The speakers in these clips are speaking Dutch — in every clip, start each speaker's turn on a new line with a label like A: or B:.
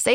A: Say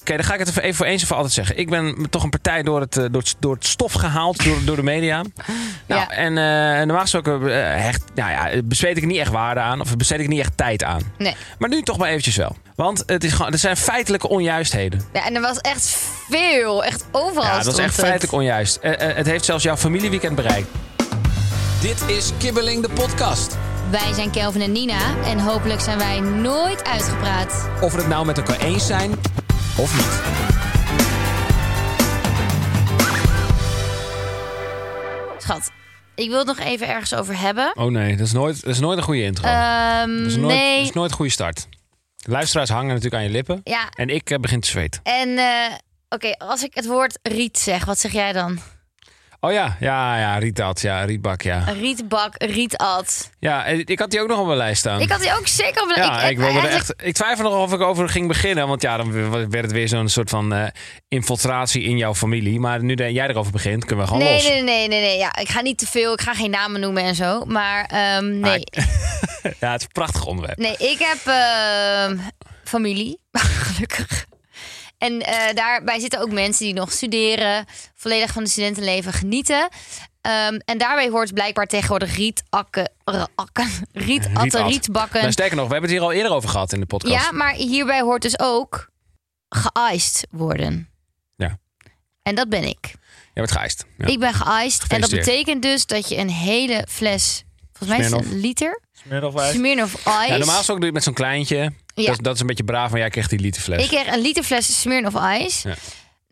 B: Oké, dan ga ik het even- even voor eens en voor altijd zeggen. Ik ben toch een partij door het, eh, door het, door het stof gehaald, door, door de media. Nou,
C: Ja.
B: En eh normaal gesproken eh, hecht, nou ja, besteed ik er niet echt waarde aan. Of besteed ik niet echt tijd aan.
C: Nee.
B: Maar nu toch maar eventjes wel. Want het, is gewoon, het zijn feitelijke onjuistheden.
C: Ja, en er was echt veel. Echt overal
B: Ja, dat
C: stond
B: is echt
C: het.
B: feitelijk onjuist. Eh, eh, het heeft zelfs jouw familieweekend bereikt.
D: Dit is Kibbeling de podcast.
C: Wij zijn Kelvin en Nina. En hopelijk zijn wij nooit uitgepraat.
D: Of we het nou met elkaar eens zijn of niet.
C: Schat, ik wil het nog even ergens over hebben.
B: Oh nee, dat is nooit, dat is nooit een goede intro.
C: Ehm,
B: dat, is nooit,
C: nee.
B: dat is nooit een goede start. Luisteraars hangen natuurlijk aan je lippen.
C: Ja,
B: En ik eh, begin te zweten.
C: en eh, oké, als ik het woord riet zeg, wat zeg jij dan?
B: Oh ja, ja, ja, Rietat, ja, Rietbak, ja.
C: Rietbak, rietat.
B: Ja, en ik had die ook nog op mijn lijst staan.
C: Ik had die ook zeker op mijn
B: ja, ik, wilde er
C: eigenlijk-
B: echt, ik twijfel nog of ik over ging beginnen. Want ja, dan werd het weer zo'n soort van eh, infiltratie in jouw familie. Maar nu dat jij erover begint, kunnen we gewoon
C: Nee,
B: los.
C: nee, nee, nee, nee. Ja, ik ga niet te veel. Ik ga geen namen noemen en zo. Maar ehm, nee,
B: Ja, het is een prachtig onderwerp.
C: Nee, ik heb ehm, familie, gelukkig. En eh, daarbij zitten ook mensen die nog studeren, volledig van het studentenleven genieten. Ehm, en daarbij hoort blijkbaar tegenwoordig rietakken, r- akken, rietatten,
B: Rietat. Nou,
C: rietbakken.
B: sterker nog, we hebben het hier al eerder over gehad in de podcast.
C: Ja, maar hierbij hoort dus ook geiced worden.
B: Ja.
C: En dat ben ik.
B: Jij bent geëist. Ja.
C: Ik ben geiced. En dat
B: Gefeliciteerd.
C: betekent dus dat je een hele fles, volgens mij is het een
B: Smirnoff.
C: liter, Smirnoff Ice.
B: Ja, normaal is ook doe je het met zo'n kleintje.
C: Ja.
B: Dat, is, dat is een beetje braaf, maar jij kreeg die literfles.
C: Ik kreeg een liter fles Smirnoff Ice.
B: Ja.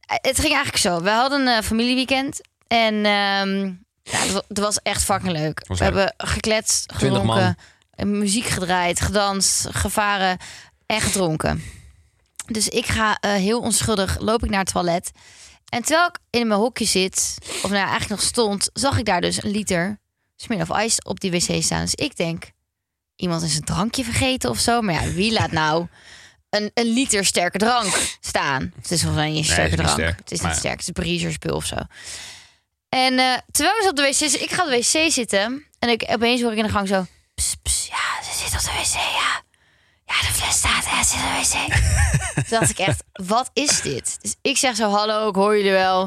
C: Eh, Het ging eigenlijk zo. We hadden een eh, familieweekend. En ehm, ja, het wa- het was echt fucking leuk.
B: was
C: we
B: leuk.
C: hebben gekletst,
B: 20 man.
C: gedronken, eh, muziek gedraaid, gedanst, gevaren en gedronken. Dus ik ga eh, heel onschuldig, loop ik naar het toilet. En terwijl ik in mijn hokje zit, of nou ja, eigenlijk nog stond... zag ik daar dus een liter Smirnoff Ice op die wc staan. Dus ik denk, iemand is een drankje vergeten of zo. Maar ja, wie laat nou een, een liter sterke drank staan? Het is volgens mij niet een
B: Nee, het
C: sterke
B: is niet
C: drank.
B: sterk,
C: het is
B: maar
C: niet
B: ja.
C: sterk, het is een breezerspul of zo. En eh, terwijl we op de wc zitten, ik ga op de wc zitten. En ik, opeens hoor ik in de gang zo... "Ps, ps, ja, ze zit op de wc, ja. Ja, de fles staat, hè, ze zit op de wc. Toen dacht ik echt, wat is dit? Dus ik zeg zo, hallo, ik hoor jullie wel.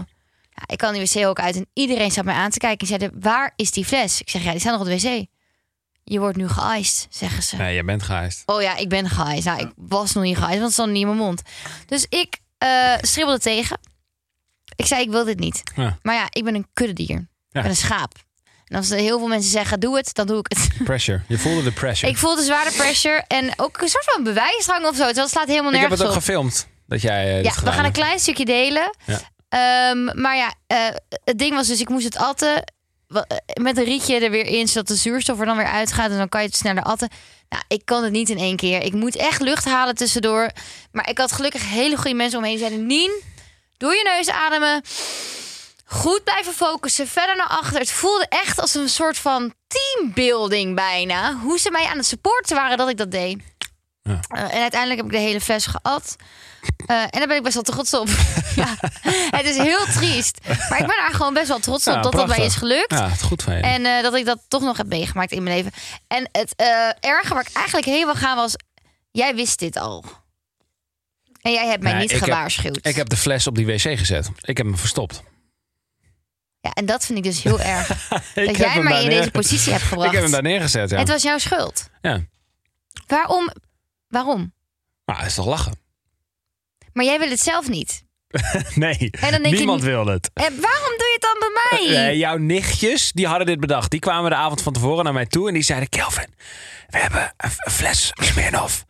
C: Ja, ik kan die wc ook uit en iedereen zat mij aan te kijken. En zeiden, waar is die fles? Ik zeg, ja, die staat nog op de wc. Je wordt nu geiced, zeggen ze.
B: Nee, jij bent geëist.
C: Oh ja, ik ben geëist. Nou, ik was nog niet geëist, want het stond niet in mijn mond. Dus ik eh schribbelde tegen. Ik zei, ik wil dit niet.
B: Ja.
C: Maar ja, ik ben een kuddedier. Ik ben een schaap. En als er heel veel mensen zeggen, doe het, dan doe ik het.
B: Pressure. Je voelde de pressure.
C: Ik voelde zware pressure en ook een soort van bewijsdrang of zo. Dus Dat slaat helemaal
B: Ik heb
C: nergens
B: het ook
C: op.
B: gefilmd. Dat jij eh, dit
C: Ja, we
B: gedaan
C: gaan een
B: hebt.
C: klein stukje delen.
B: Ja.
C: Ehm, maar ja, eh, het ding was dus, ik moest het atten. Wa- eh, Met een rietje er weer in, zodat de zuurstof er dan weer uitgaat. En dan kan je het sneller atten. Nou, ik kan het niet in één keer. Ik moet echt lucht halen tussendoor. Maar ik had gelukkig hele goede mensen omheen. Die zeiden, Nien, doe je neus ademen. Goed blijven focussen, verder naar achter. Het voelde echt als een soort van teambuilding bijna. Hoe ze mij aan het supporten waren dat ik dat deed.
B: Ja.
C: Eh, en uiteindelijk heb ik de hele fles geat. Eh, en daar ben ik best wel trots op. ja. Het is heel triest. Maar ik ben daar gewoon best wel trots op
B: Ja,
C: dat dat mij is
B: prachtig.
C: gelukt.
B: Ja, het goed van je.
C: En eh, dat ik dat toch nog heb meegemaakt in mijn leven. En het eh erge waar ik eigenlijk heen wil gaan was... Jij wist dit al. En jij hebt mij
B: Nee,
C: niet
B: Nou, ik heb-
C: gewaarschuwd.
B: Ik heb de fles op die wc gezet. Ik heb hem verstopt.
C: Ja, en dat vind ik dus heel erg.
B: heb hem
C: dat jij mij
B: daar
C: in
B: neer-
C: deze positie hebt gebracht.
B: Ik heb hem daar neergezet, ja.
C: Het was jouw schuld.
B: ja.
C: Waarom? Waarom?
B: Maar het is toch lachen?
C: Maar jij wil het zelf niet.
B: Nee,
C: En dan denk je
B: niemand
C: niet-
B: wil het.
C: Eh, waarom doe je het dan bij mij?
B: Eh, jouw nichtjes, die hadden dit bedacht. Die kwamen de avond van tevoren naar mij toe en die zeiden... Kelvin, we hebben een, een fles Smirnoff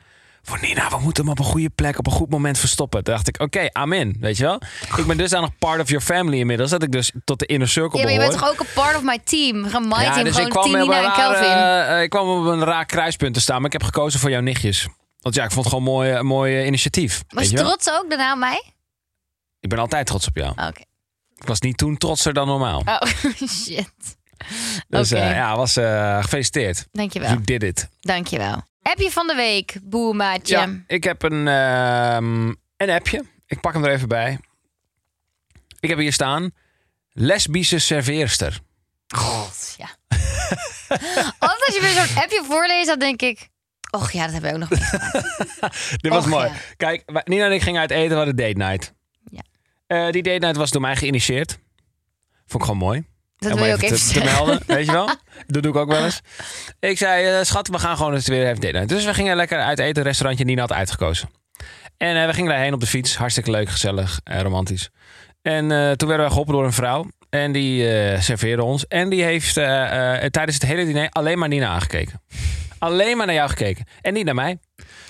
B: voor Nina. We moeten hem op een goede plek, op een goed moment verstoppen. Toen dacht ik, oké, amen. Weet je wel?
C: Ah.
B: Ik ben dus aan nog part of your family inmiddels. Dat ik dus tot de inner circle
C: ja, maar je
B: behoor.
C: bent toch ook een part of my team? Ga my
B: ja,
C: team,
B: dus ik
C: gewoon
B: kwam, op
C: Tina
B: een
C: en
B: raar,
C: Kelvin.
B: eh, eh, ik kwam op een raar kruispunt te staan. Maar ik heb gekozen voor jouw nichtjes. Want ja, ik vond het gewoon een mooi, eh, mooi eh, initiatief.
C: Was
B: weet
C: je
B: je wel?
C: trots ook daarna op mij?
B: Ik ben altijd trots op jou.
C: Oké.
B: Ik was niet toen trotser dan normaal.
C: Oh, shit.
B: Dus
C: Ah, Oké.
B: eh, ja, was eh, gefeliciteerd.
C: Dankjewel.
B: You did it.
C: Dankjewel. Appje van de week, boemaatje.
B: Ja, ik heb een, ehm, een appje. Ik pak hem er even bij. Ik heb hier staan. Lesbische serveerster.
C: God, ja. Altijd als je weer zo'n appje voorleest, dan denk ik... Och ja, dat hebben we ook nog niet.
B: Dit was
C: Och,
B: mooi.
C: ja.
B: Kijk, wij- Nina en ik gingen uit eten. We hadden date night.
C: Ja.
B: Eh, die date night was door mij geïnitieerd. Vond ik gewoon mooi.
C: Dat
B: Om
C: wil je ook even
B: te, te
C: zeggen.
B: melden, weet je wel? Dat doe ik ook wel eens. Ik zei, eh, schat, we gaan gewoon eens weer even date night. Dus we gingen lekker uit eten, restaurantje Nina had uitgekozen. En eh, we gingen daarheen op de fiets. Hartstikke leuk, gezellig, en romantisch. En eh, toen werden we geholpen door een vrouw. En die eh, serveerde ons. En die heeft eh, eh, tijdens het hele diner alleen maar Nina aangekeken. Alleen maar naar jou gekeken. En niet naar mij.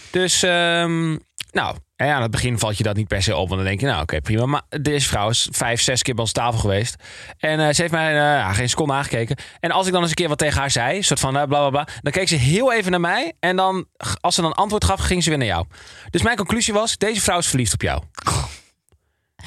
B: Dus, ehm, nou, en ja, aan het begin valt je dat niet per se op. Want dan denk je, nou oké, prima. Maar deze vrouw is vijf, zes keer bij ons tafel geweest. En eh, ze heeft mij eh, ja, geen seconde aangekeken. En als ik dan eens een keer wat tegen haar zei, een soort van eh, bla bla bla. Dan keek ze heel even naar mij. En dan, g- als ze dan antwoord gaf, ging ze weer naar jou. Dus mijn conclusie was, deze vrouw is verliefd op jou.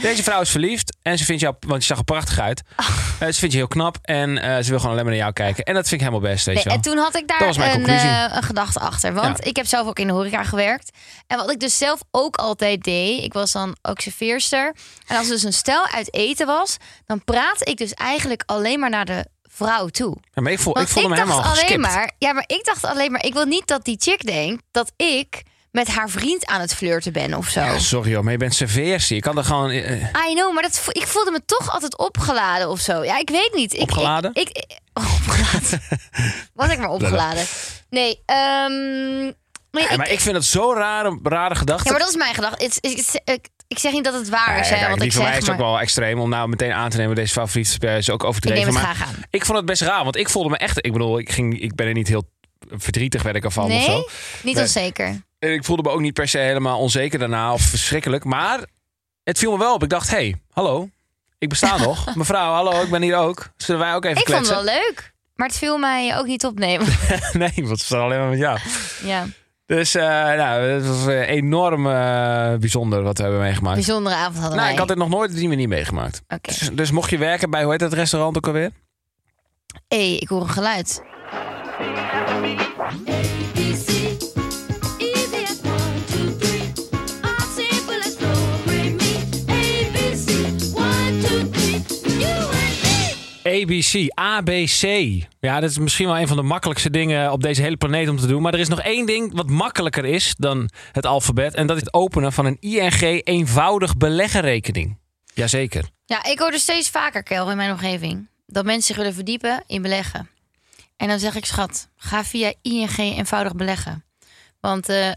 B: Deze vrouw is verliefd en ze vindt jou, want je zag er prachtig uit. Eh, ze vindt je heel knap en eh, ze wil gewoon alleen maar naar jou kijken. En dat vind ik helemaal best, weet
C: Nee,
B: je wel.
C: en toen had ik daar
B: Dat was mijn
C: een,
B: conclusie.
C: eh, een gedachte achter. Want
B: Ja.
C: ik heb zelf ook in de horeca gewerkt. En wat ik dus zelf ook altijd deed, ik was dan ook serveerster. En als dus een stel uit eten was, dan praat ik dus eigenlijk alleen maar naar de vrouw toe.
B: Ja, maar ik, voel, Oh, ik
C: Want
B: voelde me
C: dacht
B: helemaal
C: alleen
B: geskipt.
C: maar, ja, maar ik dacht alleen maar, ik wil niet dat die chick denkt dat ik met haar vriend aan het flirten ben of zo.
B: Ja, sorry joh, maar je bent serveerster. Je kan er gewoon... eh, eh,
C: I know, maar dat, vo- ik voelde me toch altijd opgeladen of zo. Ja, ik weet niet. Ik,
B: Opgeladen?
C: Ik, ik, ik- oh, opgeladen. Was ik maar opgeladen? Nee, ehm, nee
B: ja,
C: ik-
B: maar ik vind dat zo'n rare, rare gedachte.
C: ja, maar dat is mijn gedachte. Het is- het is- ik, ik zeg niet dat het waar is,
B: Ja,
C: hè,
B: kijk,
C: wat
B: die
C: ik
B: van
C: zeg.
B: mij is
C: maar
B: ook wel extreem om nou meteen aan te nemen. Deze favoriet is ook
C: ik
B: overdreven.
C: neem het
B: maar
C: graag aan.
B: ik vond het best raar, want ik voelde me echt. Ik bedoel, ik, ging, ik ben er niet heel verdrietig werd ik ervan of
C: nee,
B: zo.
C: niet
B: Nee.
C: onzeker.
B: En ik voelde me ook niet per se helemaal onzeker daarna of verschrikkelijk. Maar het viel me wel op. Ik dacht, hé, hey, hallo, ik besta nog. Mevrouw, hallo, ik ben hier ook. Zullen wij ook even
C: Ik vond het
B: kletsen?
C: wel leuk, maar het viel mij ook niet opnemen.
B: Nee, want we staan alleen maar met jou.
C: ja,
B: Dus eh, nou, het was eh, enorm eh, bijzonder wat we hebben meegemaakt.
C: bijzondere avond hadden
B: Nou,
C: wij.
B: ik had dit nog nooit op die manier meegemaakt.
C: Oké.
B: Dus, dus mocht je werken bij, hoe heet dat restaurant ook alweer?
C: Hé, ik hoor een geluid.
B: ABC, ABC. Ja, dat is misschien wel een van de makkelijkste dingen op deze hele planeet om te doen. Maar er is nog één ding wat makkelijker is dan het alfabet. En dat is het openen van een ING eenvoudig beleggenrekening. Jazeker.
C: Ja, ik hoor er steeds vaker, Kel, in mijn omgeving... dat mensen zich willen verdiepen in beleggen. En dan zeg ik, schat, ga via ING eenvoudig beleggen. Want eh,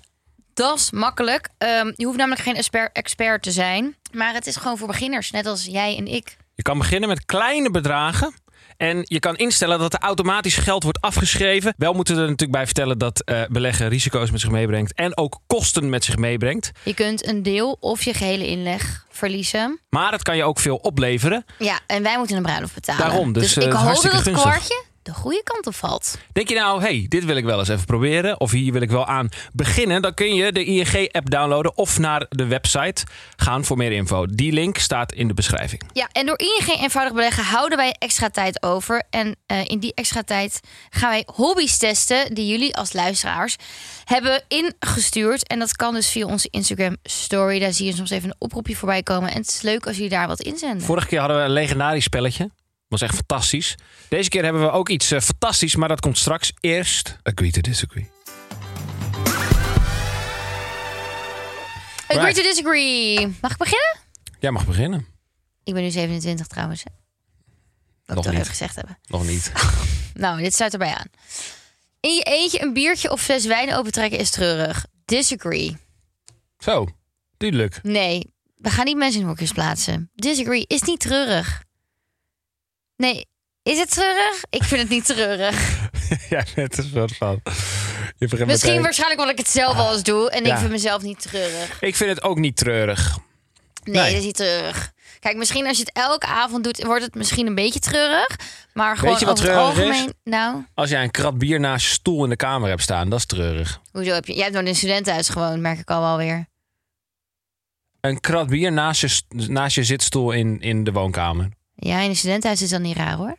C: dat is makkelijk. Ehm, je hoeft namelijk geen exper- expert te zijn. Maar het is gewoon voor beginners, net als jij en ik.
B: Je kan beginnen met kleine bedragen. En je kan instellen dat er automatisch geld wordt afgeschreven. Wel moeten we er natuurlijk bij vertellen dat eh, beleggen risico's met zich meebrengt. En ook kosten met zich meebrengt.
C: Je kunt een deel of je gehele inleg verliezen.
B: Maar het kan je ook veel opleveren.
C: Ja, en wij moeten een bruiloft betalen.
B: Daarom, dus, eh, het is
C: ik hoop dat
B: hartstikke
C: het
B: gunstig.
C: kwartje de goede kant op valt.
B: Denk je nou, hey, dit wil ik wel eens even proberen. Of hier wil ik wel aan beginnen. Dan kun je de ING-app downloaden of naar de website gaan voor meer info. Die link staat in de beschrijving.
C: Ja, en door ING eenvoudig beleggen houden wij extra tijd over. En eh, in die extra tijd gaan wij hobby's testen die jullie als luisteraars hebben ingestuurd. En dat kan dus via onze Instagram story. Daar zie je soms even een oproepje voorbij komen. En het is leuk als jullie daar wat inzenden.
B: Vorige keer hadden we een legendarisch spelletje. Was echt fantastisch. Deze keer hebben we ook iets eh, fantastisch, maar dat komt straks eerst. Agree to disagree.
C: Agree
B: Right.
C: to disagree. Mag ik beginnen?
B: Jij mag beginnen.
C: Ik ben nu 27 trouwens. hè. Dat
B: Nog
C: ik toch
B: niet.
C: even gezegd hebben.
B: Nog niet.
C: Nou, dit sluit erbij aan. In je eentje een biertje of fles wijn opentrekken is treurig. Disagree.
B: Zo, duidelijk.
C: Nee, we gaan niet mensen in hokjes plaatsen. Disagree. Is niet treurig. Nee, is het treurig? Ik vind het niet treurig.
B: ja, het is wel van. Je begint
C: Misschien
B: meteen-
C: waarschijnlijk omdat ik het zelf al eens doe. En
B: Ja.
C: ik vind mezelf niet treurig.
B: Ik vind het ook niet treurig.
C: Nee,
B: Nee.
C: dat is niet treurig. Kijk, misschien als je het elke avond doet, wordt het misschien een beetje treurig. Maar gewoon
B: je wat
C: over het
B: treurig is?
C: algemeen. Nou,
B: Als jij een krat bier naast je stoel in de kamer hebt staan, dat is treurig.
C: hoezo heb je. Jij hebt nooit in een studentenhuis gewoond, merk ik al wel weer.
B: Een krat bier naast je, st- naast je zitstoel in, in de woonkamer.
C: Ja, in een studentenhuis is dat niet raar hoor.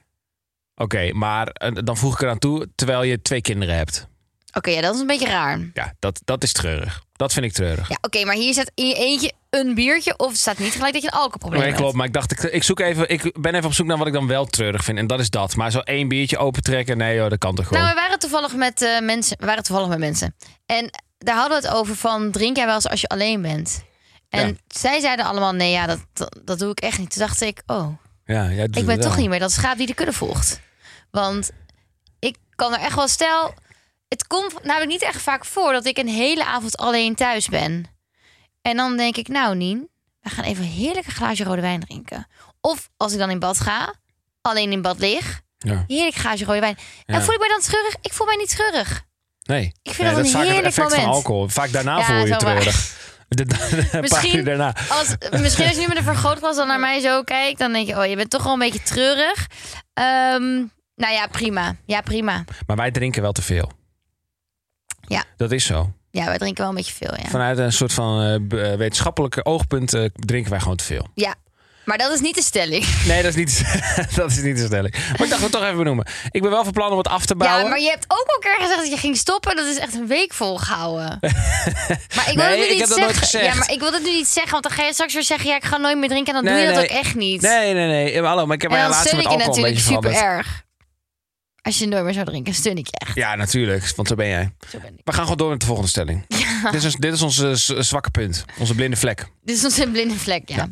B: Oké, maar eh, dan voeg ik eraan toe, terwijl je twee kinderen hebt.
C: Oké, ja, dat is een beetje raar.
B: Ja, dat, dat is treurig. Dat vind ik treurig.
C: Ja, oké, maar hier staat in je eentje een biertje. Of het staat niet gelijk dat je een alcoholprobleem
B: Nee,
C: hebt.
B: klopt. Maar ik dacht, ik, ik, zoek even, ik ben even op zoek naar wat ik dan wel treurig vind. En dat is dat. Maar zo één biertje opentrekken, nee joh, dat kan toch gewoon.
C: Nou, we waren toevallig met eh, mensen. We waren toevallig met mensen. En daar hadden we het over van drink jij wel eens als je alleen bent. En
B: Ja.
C: zij zeiden allemaal nee, ja, dat, dat, dat doe ik echt niet. Toen dacht ik, oh,
B: ja, jij doet
C: ik
B: het
C: ben
B: wel.
C: toch niet meer dat schaap die de kudde volgt. Want ik kan er echt wel stel. Het komt nou, namelijk niet echt vaak voor dat ik een hele avond alleen thuis ben. En dan denk ik, nou Nien, we gaan even een heerlijke glaasje rode wijn drinken. Of als ik dan in bad ga, alleen in bad lig,
B: Ja.
C: heerlijk glaasje rode wijn.
B: Ja.
C: En voel ik mij dan scheurig? Ik voel mij niet scheurig.
B: Nee.
C: Ik vind
B: Nee,
C: dat
B: dat
C: een
B: is vaak het
C: heerlijk
B: effect van
C: moment.
B: alcohol. Vaak daarna
C: Ja,
B: voel je je
C: dat is wel waar.
B: treurig. De, de- een paar uur
C: Misschien-
B: daarna.
C: Als, eh, misschien als je nu met een vergrootglas dan naar mij zo kijkt, dan denk je, oh, je bent toch wel een beetje treurig. Ehm, nou ja, prima. Ja, prima.
B: Maar wij drinken wel te veel.
C: Ja.
B: Dat is zo.
C: Ja, wij drinken wel een beetje veel, ja.
B: Vanuit een soort van eh, b- eh, wetenschappelijke oogpunt eh, drinken wij gewoon te veel.
C: Ja, maar dat is niet de stelling.
B: Nee, dat is niet, dat is niet de stelling. Maar ik dacht het toch even benoemen. Ik ben wel van plan om het af te bouwen.
C: Ja, maar je hebt ook al een keer gezegd dat je ging stoppen. Dat is echt een week volgehouden. maar ik wil
B: Nee,
C: het nu
B: ik
C: niet
B: heb dat
C: zeggen.
B: nooit gezegd.
C: Ja, maar ik wil het nu niet zeggen, want dan ga je straks weer zeggen, ja, ik ga nooit meer drinken. En dan
B: Nee,
C: doe je dat
B: nee.
C: ook echt niet.
B: Nee, nee, nee. Eh, maar Hallo, maar ik heb
C: en
B: mijn
C: dan
B: relatie
C: stun
B: met
C: ik je
B: alcohol een
C: natuurlijk
B: beetje
C: super
B: veranderd.
C: erg. Als je nooit meer zou drinken, stun ik je echt.
B: Ja, natuurlijk. Want zo ben jij.
C: Zo ben ik.
B: We gaan gewoon door met de volgende stelling. Dit, is, ons- dit is ons eh, z- zwakke punt. Onze blinde vlek.
C: Dit is ons een blinde vlek, ja.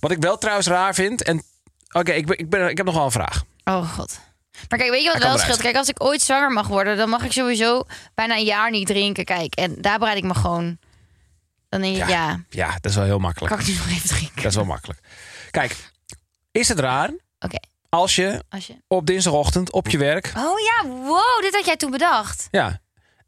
B: Wat ik wel trouwens raar vind. En oké, ik, ben- ik, ben, ik heb nog wel een vraag.
C: Oh god. Maar kijk, weet je
B: Hij
C: wat
B: kan
C: wel
B: eruit.
C: scheelt? Kijk, als ik ooit zwanger mag worden, dan mag ik sowieso bijna een jaar niet drinken. Kijk, en daar bereid ik me gewoon. Dan denk ik, ja,
B: Ja, dat is wel heel makkelijk.
C: kan ik nu nog even drinken?
B: Dat is wel makkelijk. Kijk, is het raar
C: Oké,
B: als je
C: als je.
B: op dinsdagochtend op je werk
C: Oh ja, wow, dit had jij toen bedacht.
B: ja,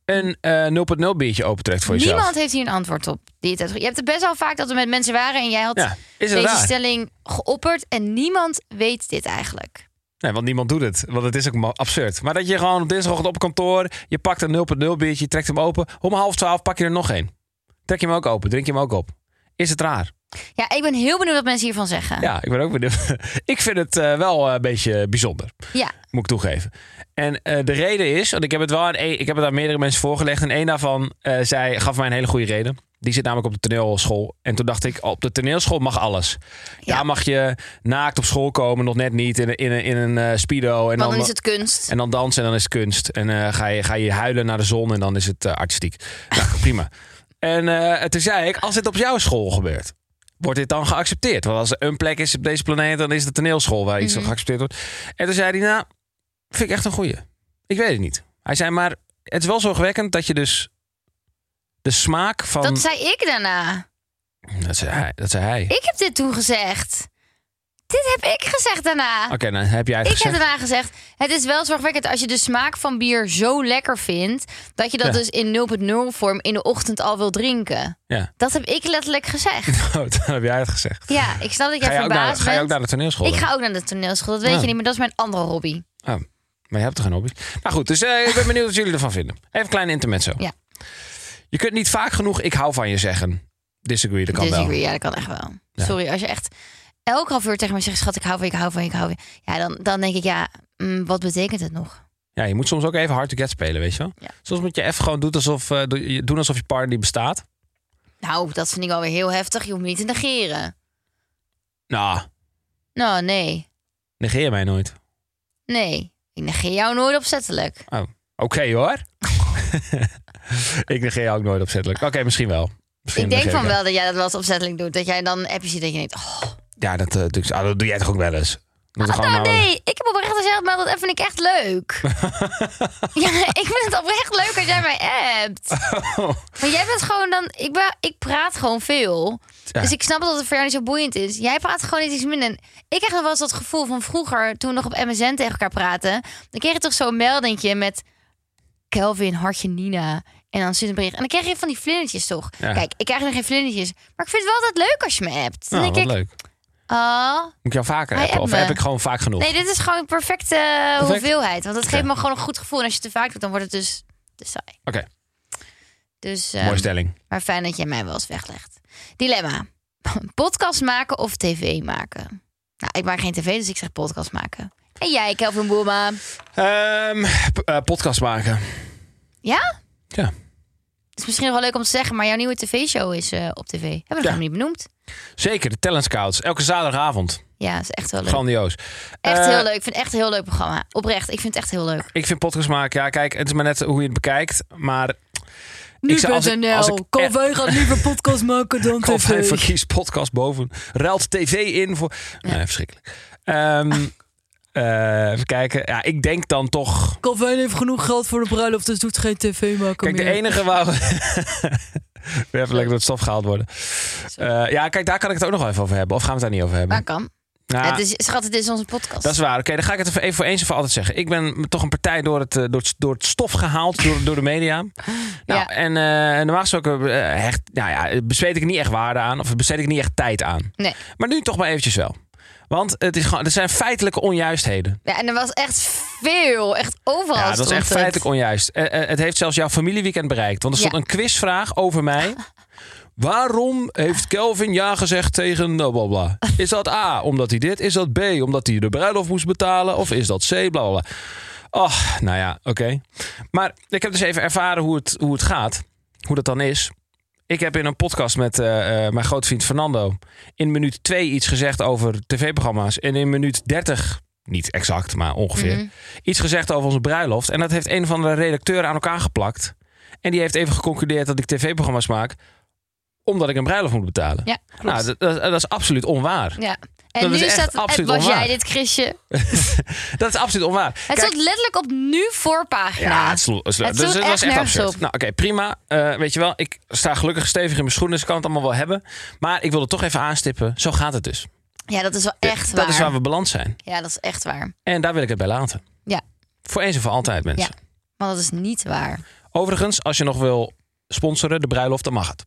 B: een eh 0.0 biertje opentrekt voor jezelf?
C: Niemand heeft hier een antwoord op. Die het heeft- Je hebt het best wel vaak dat we met mensen waren en jij had
B: Ja, is het
C: deze
B: raar?
C: stelling geopperd en niemand weet dit eigenlijk.
B: Nee, want niemand doet het. Want het is ook ma- absurd. Maar dat je gewoon op dinsdagochtend op kantoor, je pakt een 0.0 biertje, je trekt hem open. Om half twaalf pak je er nog een. Trek je hem ook open, drink je hem ook op. Is het raar?
C: Ja, ik ben heel benieuwd wat mensen hiervan zeggen.
B: Ja, ik ben ook benieuwd. Ik vind het eh, wel eh, een beetje bijzonder.
C: Ja.
B: Moet ik toegeven. En eh, de reden is, want ik heb het wel aan, een- ik heb het aan meerdere mensen voorgelegd. En één daarvan eh, zei, gaf mij een hele goede reden. Die zit namelijk op de toneelschool. En toen dacht ik, op de toneelschool mag alles. Ja,
C: Ja.
B: mag je naakt op school komen, nog net niet, in, een- in, een- in een eh, speedo. En
C: Want
B: dan,
C: dan is het kunst.
B: en dan dansen en dan is het kunst. En eh, ga, je, ga je huilen naar de zon en dan is het eh, artistiek. Nou, prima. En eh, toen zei ik, als dit op jouw school gebeurt, wordt dit dan geaccepteerd? Want als er een plek is op deze planeet, dan is het de toneelschool waar iets
C: Mhm.
B: geaccepteerd wordt. En toen zei hij, nou, vind ik echt een goeie. Ik weet het niet. Hij zei, maar het is wel zorgwekkend dat je dus de smaak van...
C: Dat zei ik daarna.
B: Dat zei hij. Dat zei hij.
C: Ik heb dit toen gezegd. Dit heb ik gezegd daarna.
B: Oké, nou heb jij het
C: Ik heb
B: gezegd.
C: daarna gezegd, het is wel zorgwekkend als je de smaak van bier zo lekker vindt, dat je dat
B: Ja.
C: dus in 0.0 vorm in de ochtend al wil drinken.
B: Ja.
C: Dat heb ik letterlijk gezegd.
B: Oh, dan heb jij het gezegd.
C: Ja, ik snap dat
B: Ga
C: jij
B: je, ook naar,
C: verbaasd
B: ga je ook
C: bent.
B: naar de toneelschool?
C: ik
B: dan?
C: ga ook naar de toneelschool, dat weet
B: Ja.
C: je niet, maar dat is mijn andere hobby.
B: Oh, maar je hebt toch geen hobby? Nou goed, dus eh, ik ben benieuwd wat jullie ervan vinden. Even een klein intermezzo.
C: Ja.
B: Je kunt niet vaak genoeg ik hou van je zeggen. Disagree, dat kan
C: Disagree,
B: wel.
C: Dus ja, dat kan echt wel. Sorry, als je echt elk half uur tegen me zegt, schat, ik hou van je, ik hou van je, ik hou van je. Ja, dan, dan denk ik, ja, mm, wat betekent het nog?
B: Ja, je moet soms ook even hard to get spelen, weet je wel?
C: Ja.
B: Soms moet je even gewoon doen alsof, eh, doe- je- doen alsof je partner niet bestaat.
C: Nou, dat vind ik alweer heel heftig, je hoeft me niet te negeren.
B: Nou,
C: Nou, nee,
B: negeer mij nooit.
C: nee. Ik negeer jou nooit opzettelijk.
B: Oh, oké hoor. ik negeer jou ook nooit opzettelijk. Oké, misschien wel. Misschien
C: Ik denk
B: negeer
C: van
B: ik jou.
C: wel dat jij dat wel eens opzettelijk doet. Dat jij dan appjes ziet dat je denkt, oh,
B: dus, Ja, dat, eh, doe ik- ah, dat doe jij toch ook wel eens? Moeten we
C: Ah,
B: gewoon
C: nou,
B: naar-
C: nee, ik heb oprecht gezegd, maar dat vind ik echt leuk. ja, ik vind het oprecht leuk als jij mij appt.
B: Oh.
C: Maar jij bent gewoon dan... Ik, ben, ik praat gewoon veel.
B: Ja.
C: Dus ik snap dat het voor jou niet zo boeiend is. Jij praat gewoon net iets minder. En Ik krijg nog wel eens dat gevoel van vroeger... toen we nog op MSN tegen elkaar praten... dan kreeg je toch zo'n meldingje met... Kelvin, hartje Nina... En dan zit een bericht. En dan krijg je van die vlindertjes toch?
B: Ja.
C: Kijk, ik krijg nog geen vlindertjes. Maar ik vind het wel altijd leuk als je me appt. Dan
B: Nou, wat
C: denk ik,
B: leuk. Moet
C: oh,
B: ik jou vaker
C: Hij
B: appen? Of
C: appt me.
B: heb ik gewoon vaak genoeg?
C: Nee, dit is gewoon een perfecte eh,
B: Perfect.
C: hoeveelheid. Want dat geeft
B: Oké.
C: me gewoon een goed gevoel. En als je het te vaak doet, dan wordt het dus te saai.
B: Oké,
C: Dus, eh,
B: mooie stelling.
C: maar fijn dat jij mij wel eens weglegt. Dilemma. Podcast maken of tv maken? Nou, ik maak geen tv, dus ik zeg podcast maken. En jij, Kelvin Boema.
B: Ehm, p- eh, podcast maken.
C: Ja?
B: Ja.
C: Het is misschien nog wel leuk om te zeggen, maar jouw nieuwe tv-show is eh, op tv. Hebben we nog
B: Ja.
C: helemaal niet benoemd.
B: Zeker, de Talent Scouts. Elke zaterdagavond.
C: Ja, is echt wel leuk.
B: Grandioos.
C: echt
B: Eh,
C: heel leuk. Ik vind het echt een heel leuk programma. Oprecht, ik vind het echt heel leuk.
B: Ik vind podcast maken, ja, kijk, het is maar net hoe je het bekijkt. Maar ik zou- als ik- als ik
E: Nu.nl. Kom,
B: echt-
E: wij gaan liever podcast maken dan
B: ik of even
E: tv.
B: kies podcast boven. Ruilt tv in voor... Nee, verschrikkelijk. Ehm, eh, even kijken. Ja, ik denk dan toch...
E: Calvin heeft genoeg geld voor de bruiloft, dus doet geen tv maken
B: Kijk, de
E: meer.
B: enige waar... we even lekker door het stof gehaald worden. Eh, ja, kijk, daar kan ik het ook nog wel even over hebben. Of gaan we het daar niet over hebben?
C: Maar kan.
B: Nou,
C: Het is, schat, het is onze podcast.
B: Dat is waar. Oké, dan ga ik het even- even voor eens en voor altijd zeggen. Ik ben toch een partij door het, eh, door het, door het stof gehaald, door, door de media. Nou,
C: Ja.
B: en eh normaal gesproken eh, hecht, nou ja, besteed ik niet echt waarde aan of besteed ik niet echt tijd aan.
C: Nee.
B: Maar nu toch maar eventjes wel. Want het is gewoon, er zijn feitelijke onjuistheden.
C: Ja, en er was echt veel. Echt overal.
B: Ja, dat
C: stond
B: is echt
C: het.
B: feitelijk onjuist. Eh, eh, het heeft zelfs jouw familieweekend bereikt. Want er stond
C: Ja.
B: een quizvraag over mij. Waarom heeft Kelvin ja gezegd tegen nou, bla bla bla? Is dat A, omdat hij dit? Is dat B, omdat hij de bruiloft moest betalen? Of is dat C, bla bla bla? Och, nou ja, oké. Maar ik heb dus even ervaren hoe het, hoe het gaat. Hoe dat dan is. Ik heb in een podcast met eh, eh, mijn grootvriend Fernando... in minuut 2 iets gezegd over tv-programma's. En in minuut 30, niet exact, maar ongeveer...
C: Mhm.
B: iets gezegd over onze bruiloft. En dat heeft een van de redacteuren aan elkaar geplakt. En die heeft even geconcludeerd dat ik tv-programma's maak... omdat ik een bruiloft moet betalen.
C: Ja, klopt.
B: nou, dat, dat- dat is absoluut onwaar.
C: ja. En
B: Dat
C: nu
B: is echt
C: staat
B: absoluut
C: was
B: onwaar.
C: jij dit Chrisje.
B: Dat is absoluut onwaar.
C: Het
B: Kijk,
C: stond letterlijk op nu voorpagina.
B: Ja, het, slo- het slo-
C: Het
B: dus het
C: sloeg
B: was
C: echt
B: echt
C: nergens
B: absurd.
C: op.
B: Nou, oké, prima. Eh, weet je wel, ik sta gelukkig stevig in mijn schoenen, dus ik kan het allemaal wel hebben. Maar ik wilde toch even aanstippen, zo gaat het dus.
C: Ja, dat is wel echt
B: dat
C: waar.
B: is waar we beland zijn.
C: Ja, dat is echt waar.
B: En daar wil ik het bij laten.
C: Ja.
B: Voor eens en voor altijd, mensen.
C: Ja. Maar dat is niet waar.
B: Overigens, als je nog wil sponsoren, de bruiloft, dan mag het.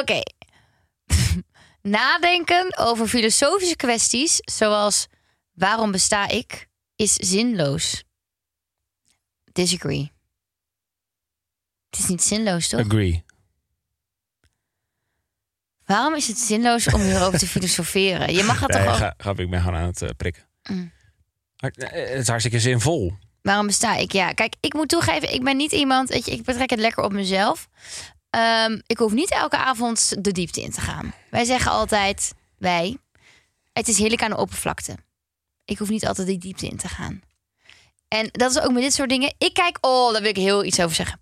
C: Oké. Nadenken over filosofische kwesties zoals waarom besta ik is zinloos. Disagree. Het is niet zinloos, toch?
B: Agree.
C: Waarom is het zinloos om hierover te filosoferen? Je mag het
B: Nee,
C: toch ook...
B: ga, ga, ik ben gewoon aan het eh, prikken.
C: Mm.
B: Hart- eh, Het is hartstikke zinvol.
C: Waarom besta ik? Ja, kijk, ik moet toegeven, ik ben niet iemand... Weet je, ik betrek het lekker op mezelf. Ehm, ik hoef niet elke avond de diepte in te gaan. Wij zeggen altijd, wij... Het is heerlijk aan de oppervlakte. Ik hoef niet altijd die diepte in te gaan. En dat is ook met dit soort dingen. Ik kijk, oh, daar wil ik heel iets over zeggen.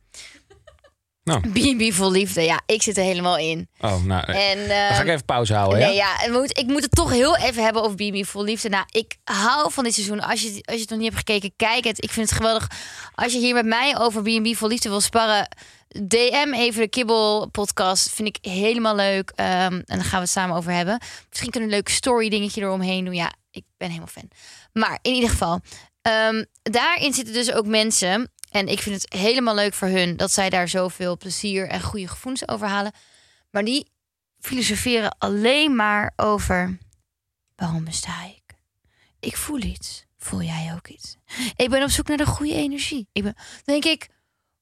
B: Nou.
C: B&B vol liefde. Ja, ik zit er helemaal in.
B: Oh, nou, eh,
C: En,
B: dan ga
C: ehm,
B: ik even pauze houden, ja?
C: Nee, ja, en we moeten- ik moet het toch heel even hebben over Bibi Vol Liefde. Nou, ik hou van dit seizoen. Als je, als je het nog niet hebt gekeken, kijk het. Ik vind het geweldig. Als je hier met mij over B&B Vol Liefde wil sparren... DM even de Kibbel podcast. Vind ik helemaal leuk. Ehm, en daar gaan we het samen over hebben. Misschien kunnen we een leuk story dingetje eromheen doen. Ja, ik ben helemaal fan. Maar in ieder geval... ehm, daarin zitten dus ook mensen... En ik vind het helemaal leuk voor hun... dat zij daar zoveel plezier en goede gevoelens over halen. Maar die filosoferen alleen maar over waarom besta ik? Ik voel iets. Voel jij ook iets? Ik ben op zoek naar de goede energie. Ik ben, dan denk ik,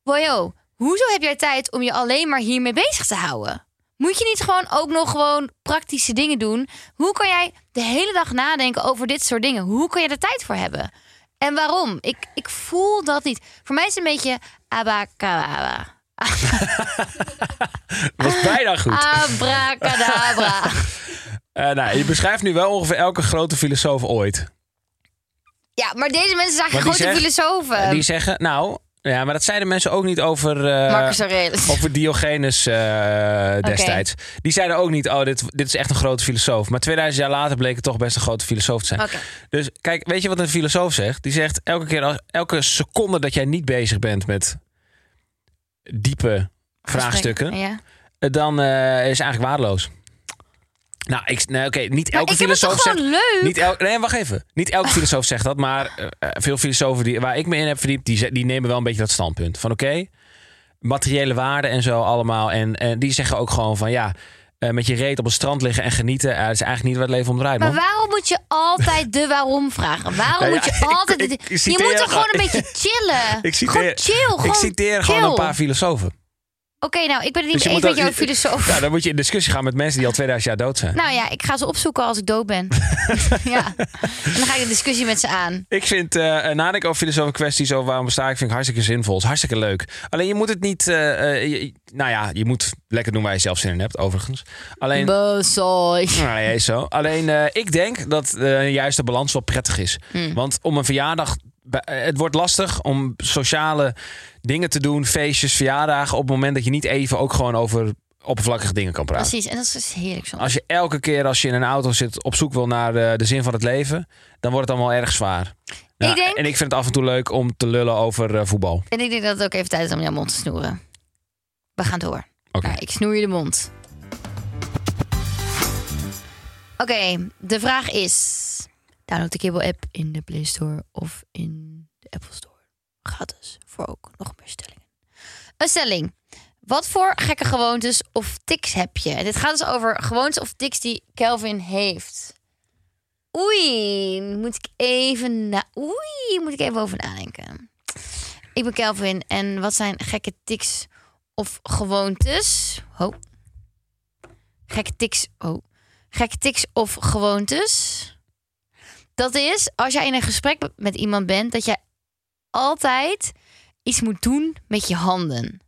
C: wow, hoezo heb jij tijd om je alleen maar hiermee bezig te houden? Moet je niet gewoon ook nog gewoon praktische dingen doen? Hoe kan jij de hele dag nadenken over dit soort dingen? Hoe kan je er tijd voor hebben? En waarom? Ik, ik voel dat niet. Voor mij is het een beetje abacadabra.
B: was bijna goed.
C: Ah. Abracadabra.
B: Eh, nou, je beschrijft nu wel ongeveer elke grote filosoof ooit.
C: Ja, maar deze mensen zijn
B: Maar
C: grote
B: die zegt-
C: filosofen.
B: Die zeggen, nou, Ja, maar dat zeiden mensen ook niet over, eh,
C: Ehm. Marcus Aurelius.
B: over Diogenes eh, destijds. Die zeiden ook niet, oh, dit, dit is echt een grote filosoof. Maar 2000 jaar later bleek het toch best een grote filosoof te zijn.
C: Oké.
B: Dus kijk, weet je wat een filosoof zegt? Die zegt elke keer, als, elke seconde dat jij niet bezig bent met diepe vraagstukken,
C: Ja. Maar
B: eh, dan eh, is het eigenlijk waardeloos. Nou, ik, nou oké, niet elke
C: ik heb het
B: filosoof
C: toch
B: zegt.
C: gewoon leuk?
B: Niet elk, nee, wacht even. Niet elke filosoof zegt dat, maar eh, eh, veel filosofen die, waar ik me in heb verdiept, die, ze- die nemen wel een beetje dat standpunt. Van oké, materiële waarden en zo allemaal. En, en die zeggen ook gewoon van ja, eh, met je reet op het strand liggen en genieten, eh, dat is eigenlijk niet waar het leven om draait.
C: Maar
B: man.
C: waarom moet je altijd de waarom vragen? Waarom
B: Nou ja,
C: moet je
B: ik-
C: altijd...
B: ik- ik
C: je
B: citeer
C: moet toch gewoon een
B: gewoon-
C: beetje chillen?
B: Ik citeer-
C: gewoon chill. Gewoon
B: ik citeer gewoon
C: chill.
B: een paar filosofen.
C: Oké, nou, ik ben het niet
B: Dus je
C: eens
B: moet
C: met
B: ook-
C: jouw filosoof.
B: Nou, dan moet je in discussie gaan met mensen die al 2000 jaar dood zijn.
C: Nou ja, ik ga ze opzoeken als ik dood ben. ja. En dan ga ik de discussie met ze aan.
B: Ik vind eh eh, nadenken over filosofische kwesties, over waarom besta ik, vind ik hartstikke zinvol. Het is hartstikke leuk. Alleen je moet het niet... eh, eh, je- nou ja, je moet lekker doen waar je zelf zin in hebt, overigens. Alleen...
C: Bezooi.
B: Nou, nee, is zo. Alleen eh, ik denk dat eh, een juiste balans wel prettig is.
C: Hmm.
B: Want om een verjaardag. bij- eh, Het wordt lastig om sociale dingen te doen, feestjes, verjaardagen. op het moment dat je niet even ook gewoon over oppervlakkige dingen kan praten.
C: Precies, en dat is dus heerlijk zo.
B: Als je elke keer als je in een auto zit op zoek wil naar eh, de zin van het leven, dan wordt het allemaal erg zwaar. Nou,
C: denk-
B: En ik vind het af en toe leuk om te lullen over eh, voetbal.
C: En ik denk dat het ook even tijd is om jouw mond te snoeren. We gaan door.
B: Oké.
C: Nou, ik snoer je de mond. Oké, de vraag is... Download de Kibbel-app in de Play Store of in de Apple Store. Gratis, voor ook nog meer stellingen. Een stelling. Wat voor gekke gewoontes of tics heb je? En dit gaat dus over gewoontes of tics die Kelvin heeft. Oei, moet ik even na... Oei, moet ik even over nadenken. Ik ben Kelvin en wat zijn gekke tics of gewoontes? Ho. Gekke tics. Oh. Gekke tics of gewoontes? Dat is als jij in een gesprek met iemand bent dat jij altijd iets moet doen met je handen.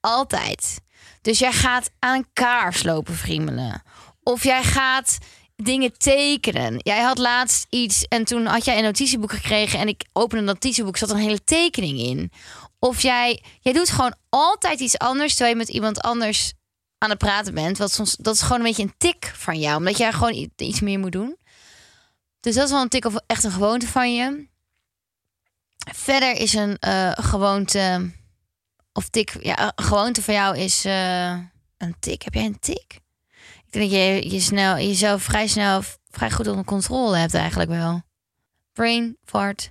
C: Altijd. Dus jij gaat aan een kaars lopen friemelen. Of jij gaat dingen tekenen. Jij had laatst iets en toen had jij een notitieboek gekregen en ik opende dat notitieboek, zat een hele tekening in. Of jij, jij doet gewoon altijd iets anders terwijl je met iemand anders aan het praten bent. Wat soms, dat is gewoon een beetje een tik van jou, omdat jij gewoon i- iets meer moet doen. Dus dat is wel een tik of echt een gewoonte van je. Verder is een eh, gewoonte of tik, ja, een gewoonte van jou is eh, een tik. Heb jij een tik? Ik denk dat je, je snel, jezelf vrij snel, vrij goed onder controle hebt eigenlijk wel. Brain fart.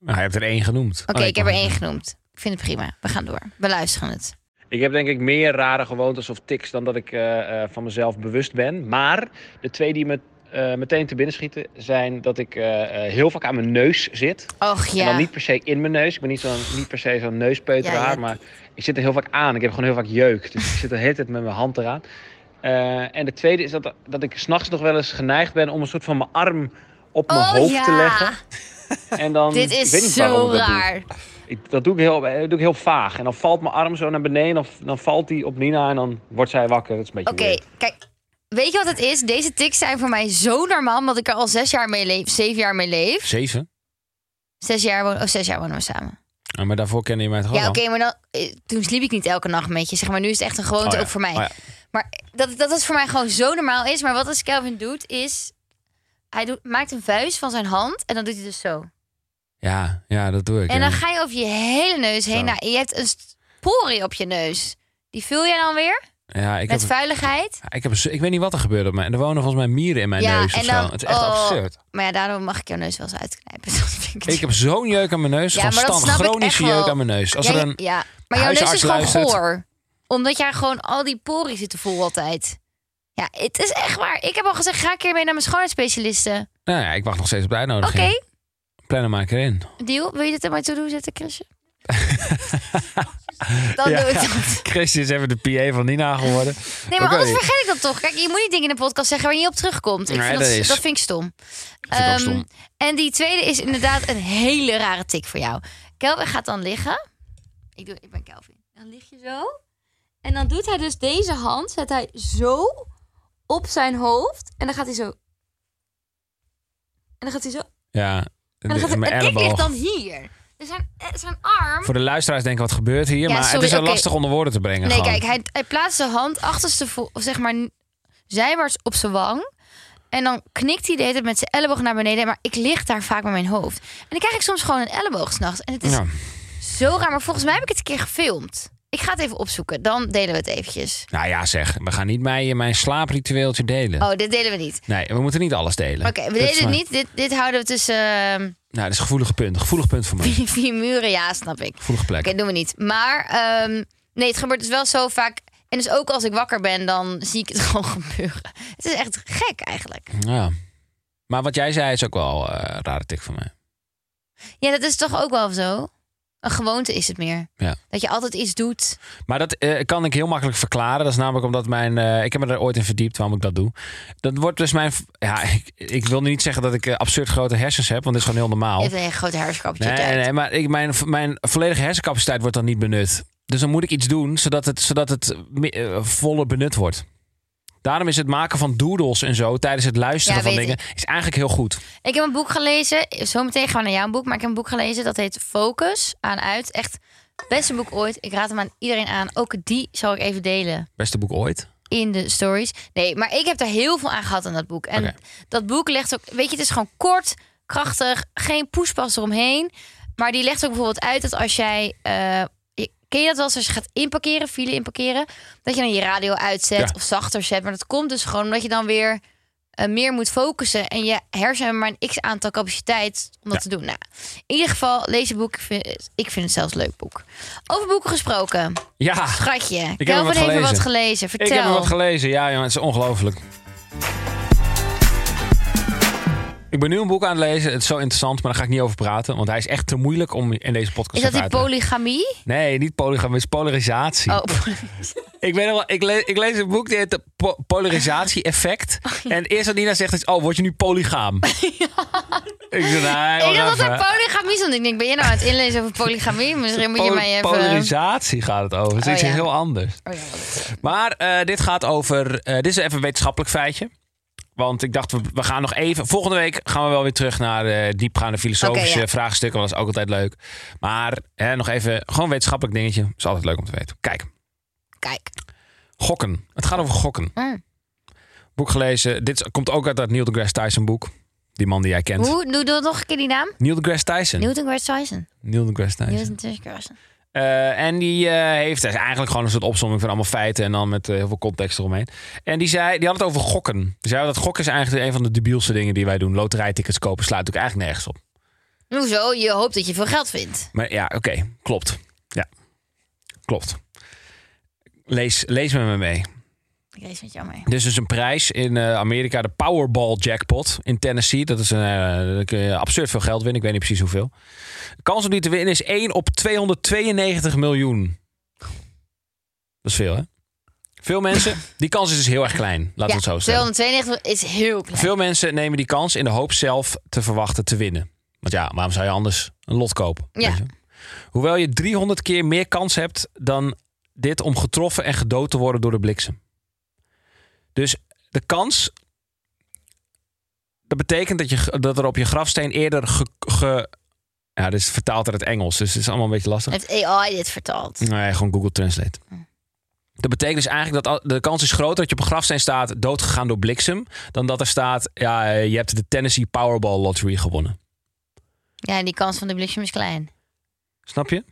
B: Nou, je hebt er één genoemd.
C: Oké, ik heb er één genoemd. Ik vind het prima. We gaan door. We luisteren het.
B: Ik heb denk ik meer rare gewoontes of tics dan dat ik eh, eh, van mezelf bewust ben. Maar de twee die me eh, meteen te binnen schieten zijn dat ik eh, eh, heel vaak aan mijn neus zit.
C: Och
B: En
C: ja.
B: dan niet per se in mijn neus. Ik ben niet, zo'n- niet per se zo'n neuspeuteraar.
C: Ja, ja.
B: Maar ik zit er heel vaak aan. Ik heb gewoon heel vaak jeuk. Dus ik zit de hele tijd met mijn hand eraan. Eh, en de tweede is dat, dat ik s'nachts nog wel eens geneigd ben om een soort van mijn arm op mijn
C: Oh,
B: hoofd te
C: ja.
B: leggen. En dan,
C: Dit
B: ik weet
C: is
B: niet waarom
C: zo
B: ik dat doe.
C: raar.
B: Ik, dat doe ik, heel, eh, doe ik heel vaag. En dan valt mijn arm zo naar beneden. Of, dan valt die op Nina en dan wordt zij wakker. Dat is een beetje
C: Oké,
B: weird.
C: kijk. Weet je wat het is? Deze tics zijn voor mij zo normaal, omdat ik er al zes jaar mee leef, zeven jaar mee leef.
B: Zeven? Ah,
C: Zes jaar, woon, oh, zes jaar wonen we samen.
B: maar daarvoor kennen je mij toch
C: ja, oké, maar dan, eh, toen sliep ik niet elke nacht met je. Zeg maar, nu is het echt een
B: Oh,
C: gewoonte ook voor mij. Maar dat, dat het voor mij gewoon zo normaal is. Maar wat als Kelvin doet, is... Hij doet, maakt een vuist van zijn hand en dan doet hij dus zo.
B: ja, dat doe ik.
C: En dan ga je over je hele neus heen.
B: Zo.
C: Nou, je hebt een sporie op je neus. Die vul jij dan weer?
B: ja, ik
C: met vuiligheid?
B: Ja, Ah, Ik, heb, ik weet niet wat er gebeurt op mij. Er wonen volgens mij mieren in mijn neus of zo. Het is echt
C: oh,
B: absurd.
C: Maar ja, daarom mag ik jouw neus wel eens uitknijpen. Dat vind ik
B: Ik heb zo'n jeuk aan mijn neus.
C: Ja,
B: van
C: maar dat
B: stand,
C: snap ik
B: chronische
C: echt wel.
B: jeuk aan mijn neus. Als
C: ja,
B: er
C: ja,
B: een,
C: ja. maar jouw neus is
B: huisarts
C: gewoon
B: luistert-
C: goor. Omdat jij gewoon al die poriën zit te voelen altijd. Ja, het is echt waar. Ik heb al gezegd, ga een keer mee naar mijn schoonheidsspecialiste.
B: Nou ja, ik wacht nog steeds op de
C: Oké, Oh,
B: uitnodiging. Plannen maak erin.
C: deal. Wil je dit aan mij toe doen zetten, Chrisje? dan
B: Ja.
C: doe ik dat.
B: Christy is even de PA van Nina geworden.
C: Nee, maar
B: Oké.
C: anders vergeet ik dat toch. Kijk, je moet niet dingen in de podcast zeggen waar je niet op terugkomt. Ik
B: Nee,
C: vind dat,
B: dat is-
C: dat vind ik stom.
B: vind ik ook
C: Ehm,
B: stom.
C: En die tweede is inderdaad een hele rare tik voor jou. Kelvin gaat dan liggen. Ik, doe, ik ben Kelvin. Dan lig je zo. En dan doet hij dus deze hand, zet hij zo op zijn hoofd. En dan gaat hij zo. En dan gaat hij zo.
B: Ja,
C: En dan gaat
B: mijn
C: het, het ik
B: elleboog.
C: ligt dan hier. Dus zijn, eh, zijn arm...
B: Voor de luisteraars denken, wat gebeurt hier?
C: Ja,
B: maar het
C: sorry,
B: is wel
C: oké.
B: lastig onder woorden te brengen.
C: Nee,
B: gewoon.
C: kijk, hij, hij plaatst zijn hand achterste, vo- of zeg maar, zijwaarts op zijn wang. En dan knikt hij de hele tijd met zijn elleboog naar beneden. Maar ik lig daar vaak met mijn hoofd. En dan krijg ik soms gewoon een elleboog s'nachts. En het is
B: Ja.
C: zo raar. Maar volgens mij heb ik het een keer gefilmd. Ik ga het even opzoeken. Dan delen we het eventjes.
B: Nou ja, zeg. We gaan niet mijn, mijn slaapritueeltje delen.
C: Oh, dit delen we niet.
B: Nee, we moeten niet alles delen.
C: Oké, we
B: Dat is
C: delen het
B: maar-
C: niet. Dit, dit houden we tussen ehm,
B: Nou, dat is een gevoelige punt. Een gevoelig punt voor mij.
C: vier, vier muren. Ja, snap ik.
B: Gevoelige plek.
C: Oké, doen we niet. Maar ehm, nee, het gebeurt dus wel zo vaak. En dus ook als ik wakker ben, dan zie ik het gewoon gebeuren. Het is echt gek eigenlijk.
B: Ja. Maar wat jij zei is ook wel eh, een rare tik van mij.
C: Ja, dat is toch ook wel zo? Een gewoonte is het meer.
B: Ja.
C: Dat je altijd iets doet.
B: Maar dat eh, kan ik heel makkelijk verklaren. Dat is namelijk omdat mijn. eh, ik heb me er ooit in verdiept waarom ik dat doe. Dat wordt dus mijn. Ja, ik, ik wil nu niet zeggen dat ik eh, absurd grote hersens heb, want dit is gewoon heel normaal.
C: Even een grote haarschapje.
B: Nee, nee,
C: uit.
B: nee, maar ik, mijn, mijn volledige hersencapaciteit wordt dan niet benut. Dus dan moet ik iets doen zodat het, zodat het me- eh, voller benut wordt. Daarom is het maken van doodles en zo tijdens het luisteren
C: Ja,
B: van
C: weet
B: dingen is eigenlijk heel goed.
C: Ik heb een boek gelezen. Zometeen gaan we naar jouw boek. Maar ik heb een boek gelezen dat heet Focus aan uit. Echt beste boek ooit. Ik raad hem aan iedereen aan. Ook die zal ik even delen
B: Beste boek ooit.
C: in de stories. Nee, maar ik heb er heel veel aan gehad aan dat boek. En
B: Oké.
C: dat boek legt ook... Weet je, het is gewoon kort, krachtig. Geen poespas eromheen. Maar die legt ook bijvoorbeeld uit dat als jij... eh, je- Ken je dat wel eens als je gaat inparkeren, file inparkeren? Dat je dan je radio uitzet
B: Ja.
C: of zachter zet. Maar dat komt dus gewoon omdat je dan weer eh, meer moet focussen. En je hersenen hebben maar een x-aantal capaciteit om dat te doen. Nou, in ieder geval, lees je boek. Ik vind, ik vind het zelfs een leuk boek. Over boeken gesproken.
B: Ja,
C: Schatje,
B: heb hem
C: Kelvin
B: wat
C: heeft er wat
B: gelezen.
C: gelezen. Vertel.
B: ik heb er wat gelezen. Ja, jongen, het is ongelooflijk. Ik ben nu een boek aan het lezen. Het is zo interessant, maar daar ga ik niet over praten. Want hij is echt te moeilijk om in deze podcast
C: Is dat
B: even
C: die
B: uit te leggen.
C: polygamie?
B: Nee, niet polygamie, het is polarisatie.
C: Oh,
B: Ik, weet nog wel, ik, le- ik lees een boek, die heet de po- Polarisatie-effect.
C: Oh,
B: En het eerste wat Nina zegt is, oh, word je nu polygaam? Ik zeg, nee,
C: ik
B: wacht
C: dacht dat er
B: even.
C: polygamie stond. Ik denk, ben je nou aan het inlezen over polygamie? Misschien moet je
B: Pol-
C: mij even...
B: Polarisatie gaat het over. Het is
C: Oh,
B: iets
C: ja.
B: heel anders.
C: Oh, ja, wat-
B: Maar eh, dit gaat over. eh, dit is even een wetenschappelijk feitje. Want ik dacht, we, we gaan nog even. Volgende week gaan we wel weer terug naar eh, diepgaande filosofische
C: Oké, ja.
B: vraagstukken. Want dat is ook altijd leuk. Maar hè, nog even, gewoon een wetenschappelijk dingetje. Is altijd leuk om te weten. Kijk,
C: Kijk.
B: gokken. Het gaat over gokken.
C: Mm.
B: Boek gelezen. Dit is- komt ook uit dat Neil deGrasse Tyson boek. Die man die jij kent.
C: Hoe? Doe, doe nog een keer die naam.
B: Neil deGrasse Tyson. Neil,
C: Newton Grace Tyson.
B: deGrasse Tyson.
C: Newton Tyson.
B: Eh, en die eh, heeft hij is eigenlijk gewoon een soort opzomming van allemaal feiten en dan met eh, heel veel context eromheen. En die, zei, die had het over gokken. Die zei dat gokken is eigenlijk een van de debielste dingen die wij doen. Loterijtickets kopen slaat natuurlijk eigenlijk nergens op.
C: Hoezo? Je hoopt dat je veel geld vindt.
B: Maar ja, oké, klopt. Ja, klopt. Lees, lees met me mee.
C: Ik lees met jou mee.
B: Dus is een prijs in eh, Amerika, de Powerball jackpot in Tennessee. Dat is een eh, daar kun je absurd veel geld winnen. Ik weet niet precies hoeveel. De kans om die te winnen is 1 op 292 miljoen. Dat is veel, hè? Veel mensen, die kans is dus heel erg klein. Laten we
C: Ja,
B: het zo stellen.
C: 292 is heel klein.
B: Veel mensen nemen die kans in de hoop zelf te verwachten te winnen. Want ja, waarom zou je anders een lot kopen?
C: Ja.
B: weet je? Hoewel je 300 keer meer kans hebt dan dit om getroffen en gedood te worden door de bliksem. Dus de kans. Dat betekent dat, je, dat er op je grafsteen eerder ge. ge- ja, dit is vertaald uit het Engels, dus het is allemaal een beetje lastig.
C: Heeft AI dit vertaald?
B: Nee, gewoon Google Translate.
C: Oh.
B: Dat betekent dus eigenlijk dat al- de kans is groter dat je op een grafsteen staat doodgegaan door bliksem. Dan dat er staat, ja, eh, je hebt de Tennessee Powerball Lottery gewonnen.
C: Ja, en die kans van de bliksem is klein.
B: Snap je?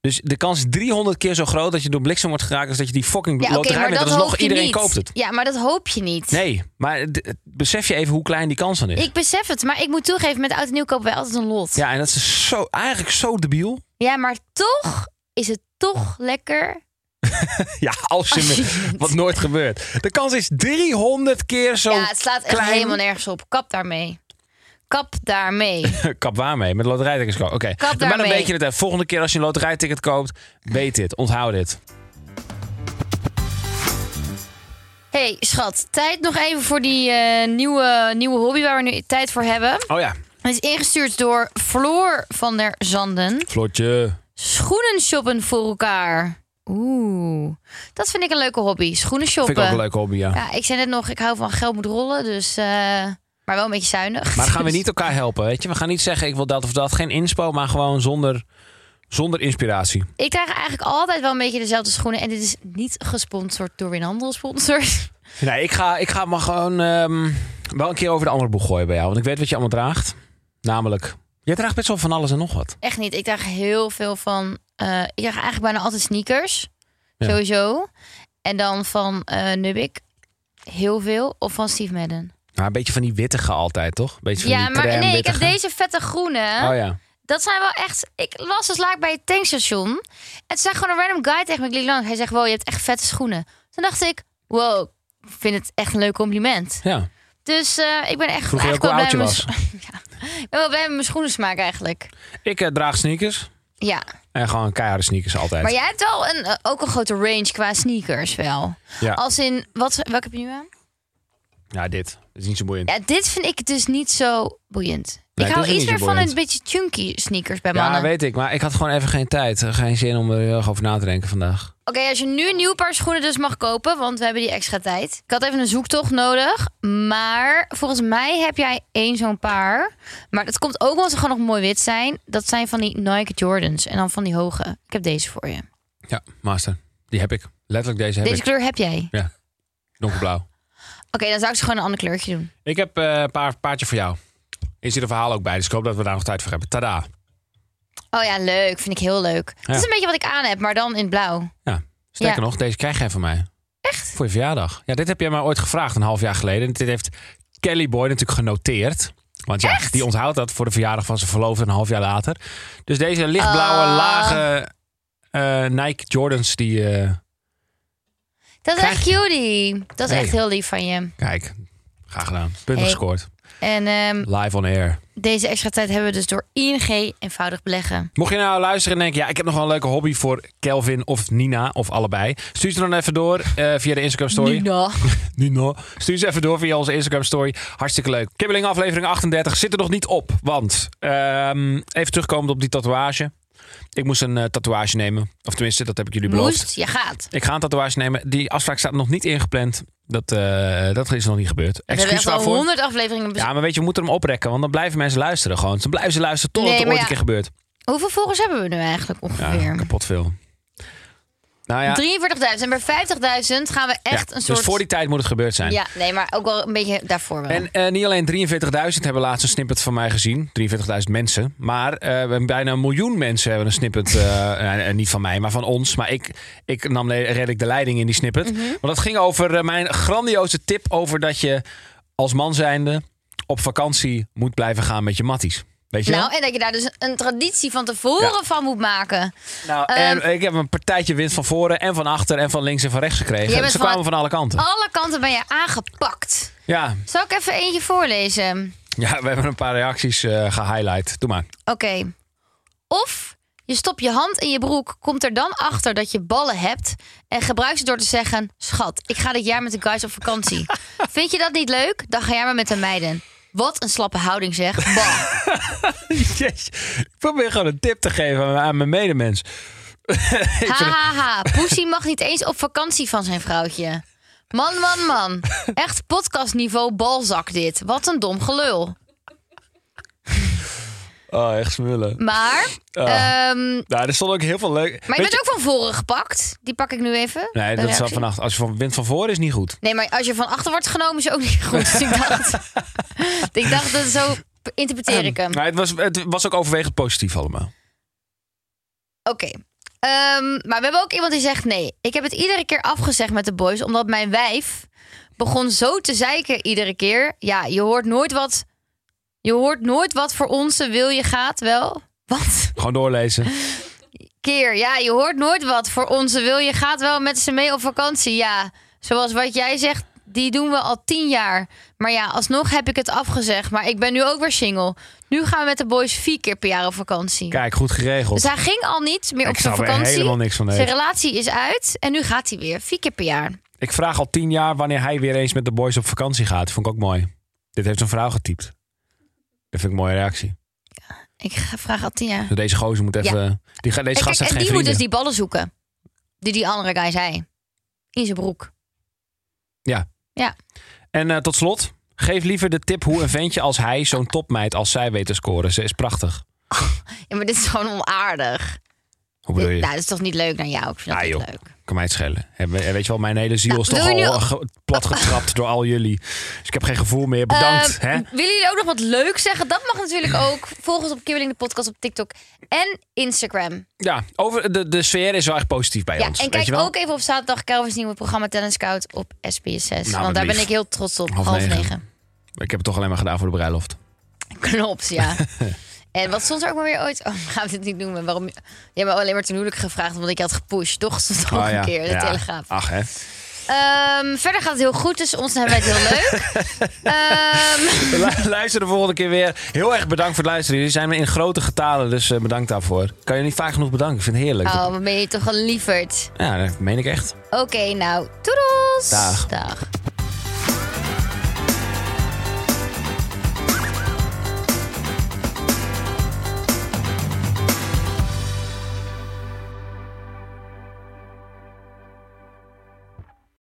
B: Dus de kans is 300 keer zo groot dat je door bliksem wordt geraakt als dat je die fucking
C: Ja, oké,
B: loterij
C: maar
B: wint.
C: dat
B: Dat is nog
C: hoop je
B: iedereen
C: niet.
B: koopt het.
C: Ja, maar dat hoop je niet.
B: Nee, maar d- besef je even hoe klein die kans dan is.
C: Ik besef het, maar ik moet toegeven, met oud en nieuw kopen wij altijd een lot.
B: Ja, en dat is zo, eigenlijk zo debiel.
C: Ja, maar toch is het toch lekker.
B: Ja, als je
C: Als je
B: me,
C: wint.
B: wat nooit gebeurt. De kans is 300 keer zo
C: ja, het slaat echt
B: Oh, klein.
C: helemaal nergens op. Kap daarmee. Kap daarmee.
B: Kap waarmee? Met loterijtickets kopen. Oké.
C: Kap
B: Maar dan
C: daarmee.
B: weet je het. Hè. Volgende keer als je een loterijticket koopt, weet dit. Onthoud dit.
C: hey, schat, tijd nog even voor die eh, nieuwe, nieuwe hobby waar we nu tijd voor hebben.
B: Oh ja.
C: Het is ingestuurd door Floor van der Zanden.
B: Flotje.
C: Schoenen shoppen voor elkaar. Oeh, dat vind ik een leuke hobby. Schoenen shoppen.
B: Vind ik ook een leuke hobby, ja.
C: Ja, ik zei net nog, ik hou van geld moet rollen, dus eh, Maar wel een beetje zuinig.
B: Maar dan gaan we
C: Dus-
B: niet elkaar helpen, weet je. We gaan niet zeggen, ik wil dat of dat. Geen inspo, maar gewoon zonder, zonder inspiratie.
C: Ik draag eigenlijk altijd wel een beetje dezelfde schoenen. En dit is niet gesponsord door Winhandel sponsors.
B: Nee, ik ga, ik ga maar gewoon ehm, wel een keer over de andere boeg gooien bij jou. Want ik weet wat je allemaal draagt. Namelijk, jij draagt best wel van alles en nog wat.
C: Echt niet. Ik draag heel veel van... eh, ik draag eigenlijk bijna altijd sneakers.
B: Ja.
C: Sowieso. En dan van eh Nubik. Heel veel. Of van Steve Madden.
B: Nou, een beetje van die witte altijd, toch? Een beetje van
C: Ja,
B: die
C: maar
B: crème,
C: nee, ik heb
B: wittige.
C: deze vette groene.
B: Oh ja.
C: Dat zijn wel echt... Ik las het laak bij het tankstation. En toen zei gewoon een random guy tegen me, ik liep lang. Hij zegt, wow, je hebt echt vette schoenen. Toen dacht ik, wow, ik vind het echt een leuk compliment.
B: ja.
C: Dus eh, ik ben echt
B: Vroeg je ook
C: eigenlijk
B: hoe
C: wel
B: oud je
C: blij met
B: was.
C: mijn Ik ben wel blij met mijn schoenen smaak eigenlijk.
B: Ik eh, draag sneakers.
C: Ja.
B: En gewoon keiharde sneakers altijd.
C: Maar jij hebt wel een, eh, ook een grote range qua sneakers wel.
B: Ja.
C: Als in, wat, welke heb je nu aan?
B: ja, dit. Dat is niet zo boeiend.
C: Ja, dit vind ik dus niet zo boeiend.
B: Nee, dit
C: ik hou
B: is
C: iets
B: niet
C: meer
B: zo
C: van
B: boeiend.
C: een beetje chunky sneakers bij
B: Ja,
C: mannen.
B: weet ik. Maar ik had gewoon even geen tijd. eh, Geen zin om er heel erg over na te denken vandaag.
C: Oké, als je nu een nieuw paar schoenen dus mag kopen, want we hebben die extra tijd. Ik had even een zoektocht nodig, maar volgens mij heb jij één zo'n paar. Maar dat komt ook omdat ze gewoon nog mooi wit zijn. Dat zijn van die Nike Jordans en dan van die hoge. Ik heb deze voor je.
B: Ja, master. Die heb ik. Letterlijk deze heb
C: Deze
B: ik.
C: kleur heb jij.
B: Donkerblauw.
C: Oké, dan zou ik ze gewoon een ander kleurtje doen.
B: Ik heb eh, een paar, paardje voor jou. Is hier een verhaal ook bij, dus ik hoop dat we daar nog tijd voor hebben. Tada.
C: Oh ja, leuk. Vind ik heel leuk. Het is een beetje wat ik aan heb, maar dan in blauw.
B: Ja, sterker
C: Ja.
B: nog, deze krijg jij van mij. Echt? Voor je verjaardag. Ja, dit heb jij mij ooit gevraagd, een half jaar geleden. En dit heeft Kelly Boy natuurlijk genoteerd. Want ja, die onthoudt dat voor de verjaardag van zijn verloofde een half jaar later. Dus deze lichtblauwe,
C: Ah.
B: lage eh, Nike Jordans, die... eh,
C: Dat is
B: Krijg
C: echt cutie. Dat is
B: Hey.
C: echt heel lief van je.
B: kijk, graag gedaan. Punten
C: Hey.
B: gescoord.
C: En ehm,
B: Live on air.
C: deze extra tijd hebben we dus door ING eenvoudig beleggen.
B: Mocht je nou luisteren en denken, ja, ik heb nog wel een leuke hobby voor Kelvin of Nina of allebei. Stuur ze dan even door eh, via de Instagram story.
E: Nina.
B: Nina. Stuur ze even door via onze Instagram story. Hartstikke leuk. Kibbeling aflevering 38 zit er nog niet op. Want, ehm, even terugkomend op die tatoeage. Ik moest een eh, tatoeage nemen. Of tenminste, dat heb ik jullie beloofd.
C: Moest, je gaat.
B: Ik ga een tatoeage nemen. Die afspraak staat nog niet ingepland. Dat, eh, dat is nog niet gebeurd.
C: We hebben
B: Excuus
C: echt al
B: waarvoor.
C: honderd afleveringen bes-
B: Ja, maar weet je, we moeten hem oprekken. Want dan blijven mensen luisteren gewoon. Dan blijven ze luisteren totdat
C: Nee,
B: het
C: maar
B: ooit een
C: ja.
B: keer gebeurt.
C: Hoeveel volgers hebben we nu eigenlijk ongeveer?
B: Ja, kapot veel. Nou ja,
C: 43.000. En bij 50.000 gaan we echt
B: ja,
C: een soort...
B: dus voor die tijd moet het gebeurd zijn.
C: Ja, nee, maar ook wel een beetje daarvoor wel.
B: En eh, niet alleen 43.000 hebben laatst een snippet van mij gezien. 43.000 mensen. Maar eh, bijna een miljoen mensen hebben een snippet. eh, eh, eh, niet van mij, maar van ons. Maar ik, ik nam le- redelijk de leiding in die snippet.
C: Mhm.
B: Want dat ging over eh, mijn grandioze tip over dat je als man zijnde op vakantie moet blijven gaan met je matties. Weet je wel?
C: Nou, en dat je daar dus een traditie van tevoren
B: Ja.
C: van moet maken.
B: Nou,
C: ehm,
B: en ik heb een partijtje wind van voren en van achter en van links en van rechts
C: Jij
B: gekregen.
C: bent
B: Ze
C: van- Oh.
B: kwamen van alle kanten.
C: Alle kanten ben je aangepakt.
B: Ja,
C: Zal ik even eentje voorlezen?
B: Ja, we hebben een paar reacties eh, gehighlight. Doe maar.
C: Oké. Of je stopt je hand in je broek, komt er dan achter dat je ballen hebt en gebruikt ze door te zeggen: Schat, ik ga dit jaar met de guys op vakantie. Vind je dat niet leuk? Dan ga jij maar met de meiden. Wat een slappe houding zeg. Bah.
B: Jeetje. Ik probeer gewoon een tip te geven aan- aan mijn medemens.
C: Ha ha ha. Poesie mag niet eens op vakantie van zijn vrouwtje. Man, man, man. Echt podcastniveau balzak dit. Wat een dom gelul.
B: Oh, echt smullen.
C: Maar, ehm,
B: Nou, er stond ook heel veel leuk.
C: maar je
B: Ah. Weet
C: bent ook van voren gepakt. Die pak ik nu even.
B: Nee,
C: de
B: dat is al
C: reactie.
B: vannacht. Als je van wind van voren is niet goed.
C: Nee, maar als je van achter wordt genomen is ook niet goed. Dus ik dacht, ik dacht dat zo interpreteer ik hem. Oké.
B: Ehm, Maar het was, het was ook overwegend positief allemaal.
C: Ehm, maar we hebben ook iemand die zegt nee. Ik heb het iedere keer afgezegd met de boys, omdat mijn wijf begon zo te zeiken iedere keer. Ja, je hoort nooit wat. Je hoort nooit wat voor onze wil je gaat wel. Wat?
B: Gewoon doorlezen.
C: Keer, ja, je hoort nooit wat voor onze wil je gaat wel met ze mee op vakantie. Ja, zoals wat jij zegt, die doen we al tien jaar. Maar ja, alsnog heb ik het afgezegd. Maar ik ben nu ook weer single. Nu gaan we met de boys vier keer per jaar op vakantie.
B: Kijk, goed geregeld.
C: Dus hij ging al niet meer op
B: Ik
C: zijn
B: snap er
C: vakantie.
B: helemaal niks van, nee.
C: Zijn relatie is uit en nu gaat hij weer. Vier keer per jaar.
B: Ik vraag al tien jaar wanneer hij weer eens met de boys op vakantie gaat. Vond ik ook mooi. Dit heeft een vrouw getypt. Dat vind ik een mooie reactie.
C: Ik ga- vraag al tien jaar.
B: Dus Deze gozer moet even... Die, ga- deze
C: En,
B: gast
C: kijk,
B: heeft
C: en die
B: geen
C: moet dus
B: vrienden.
C: die ballen zoeken. Die die andere guy zei. In zijn broek.
B: Ja.
C: Ja.
B: En eh, tot slot, Geef liever de tip hoe een ventje als hij zo'n topmeid als zij weet te scoren. Ze is prachtig.
C: Ja, maar dit is gewoon onaardig.
B: Hoe bedoel je?
C: Dit- nou, dat is toch niet leuk naar jou? Ik vind dat
B: Ah,
C: niet
B: joh.
C: leuk.
B: Kan mij het schelen. En we- en Weet je wel, mijn hele ziel
C: Nou,
B: is toch
C: wil je
B: al eh,
C: nu-
B: ge- platgetrapt door al jullie. Dus ik heb geen gevoel meer. Bedankt.
C: Eh,
B: hè?
C: Willen jullie ook nog wat leuk zeggen? Dat mag natuurlijk ook. Volg ons op Kibbeling de podcast op TikTok en Instagram.
B: Ja, over de, de sfeer is wel echt positief bij
C: Ja,
B: ons.
C: en
B: weet je
C: kijk
B: wel?
C: ook even op zaterdag Kelvins nieuwe programma Talent Scout op SBS6.
B: Nou, wat
C: want daar ben
B: lief.
C: ik heel trots op.
B: Half
C: Half,
B: negen.
C: negen.
B: Ik heb het toch alleen maar gedaan voor de bruiloft.
C: Klopt, ja. en wat stond er ook maar weer ooit? Oh, gaan we dit niet noemen. Waarom? Jij hebt me alleen maar ten huwelijk gevraagd omdat ik je had gepusht. Toch stond er ook
B: Oh, ja.
C: een keer in de
B: Ja.
C: Telegraaf.
B: Ach hè.
C: Ehm, verder gaat het heel goed tussen ons en hebben wij het heel leuk. Ehm,
B: Lu- Luister de volgende keer weer. Heel erg bedankt voor het luisteren. Jullie zijn me in grote getalen, dus eh, bedankt daarvoor. Kan je niet vaak genoeg bedanken. Ik vind het heerlijk.
C: oh, wat ben je toch een lieverd.
B: Ja, dat meen ik echt.
C: Oké, nou, toedels.
B: Dag.
C: Dag.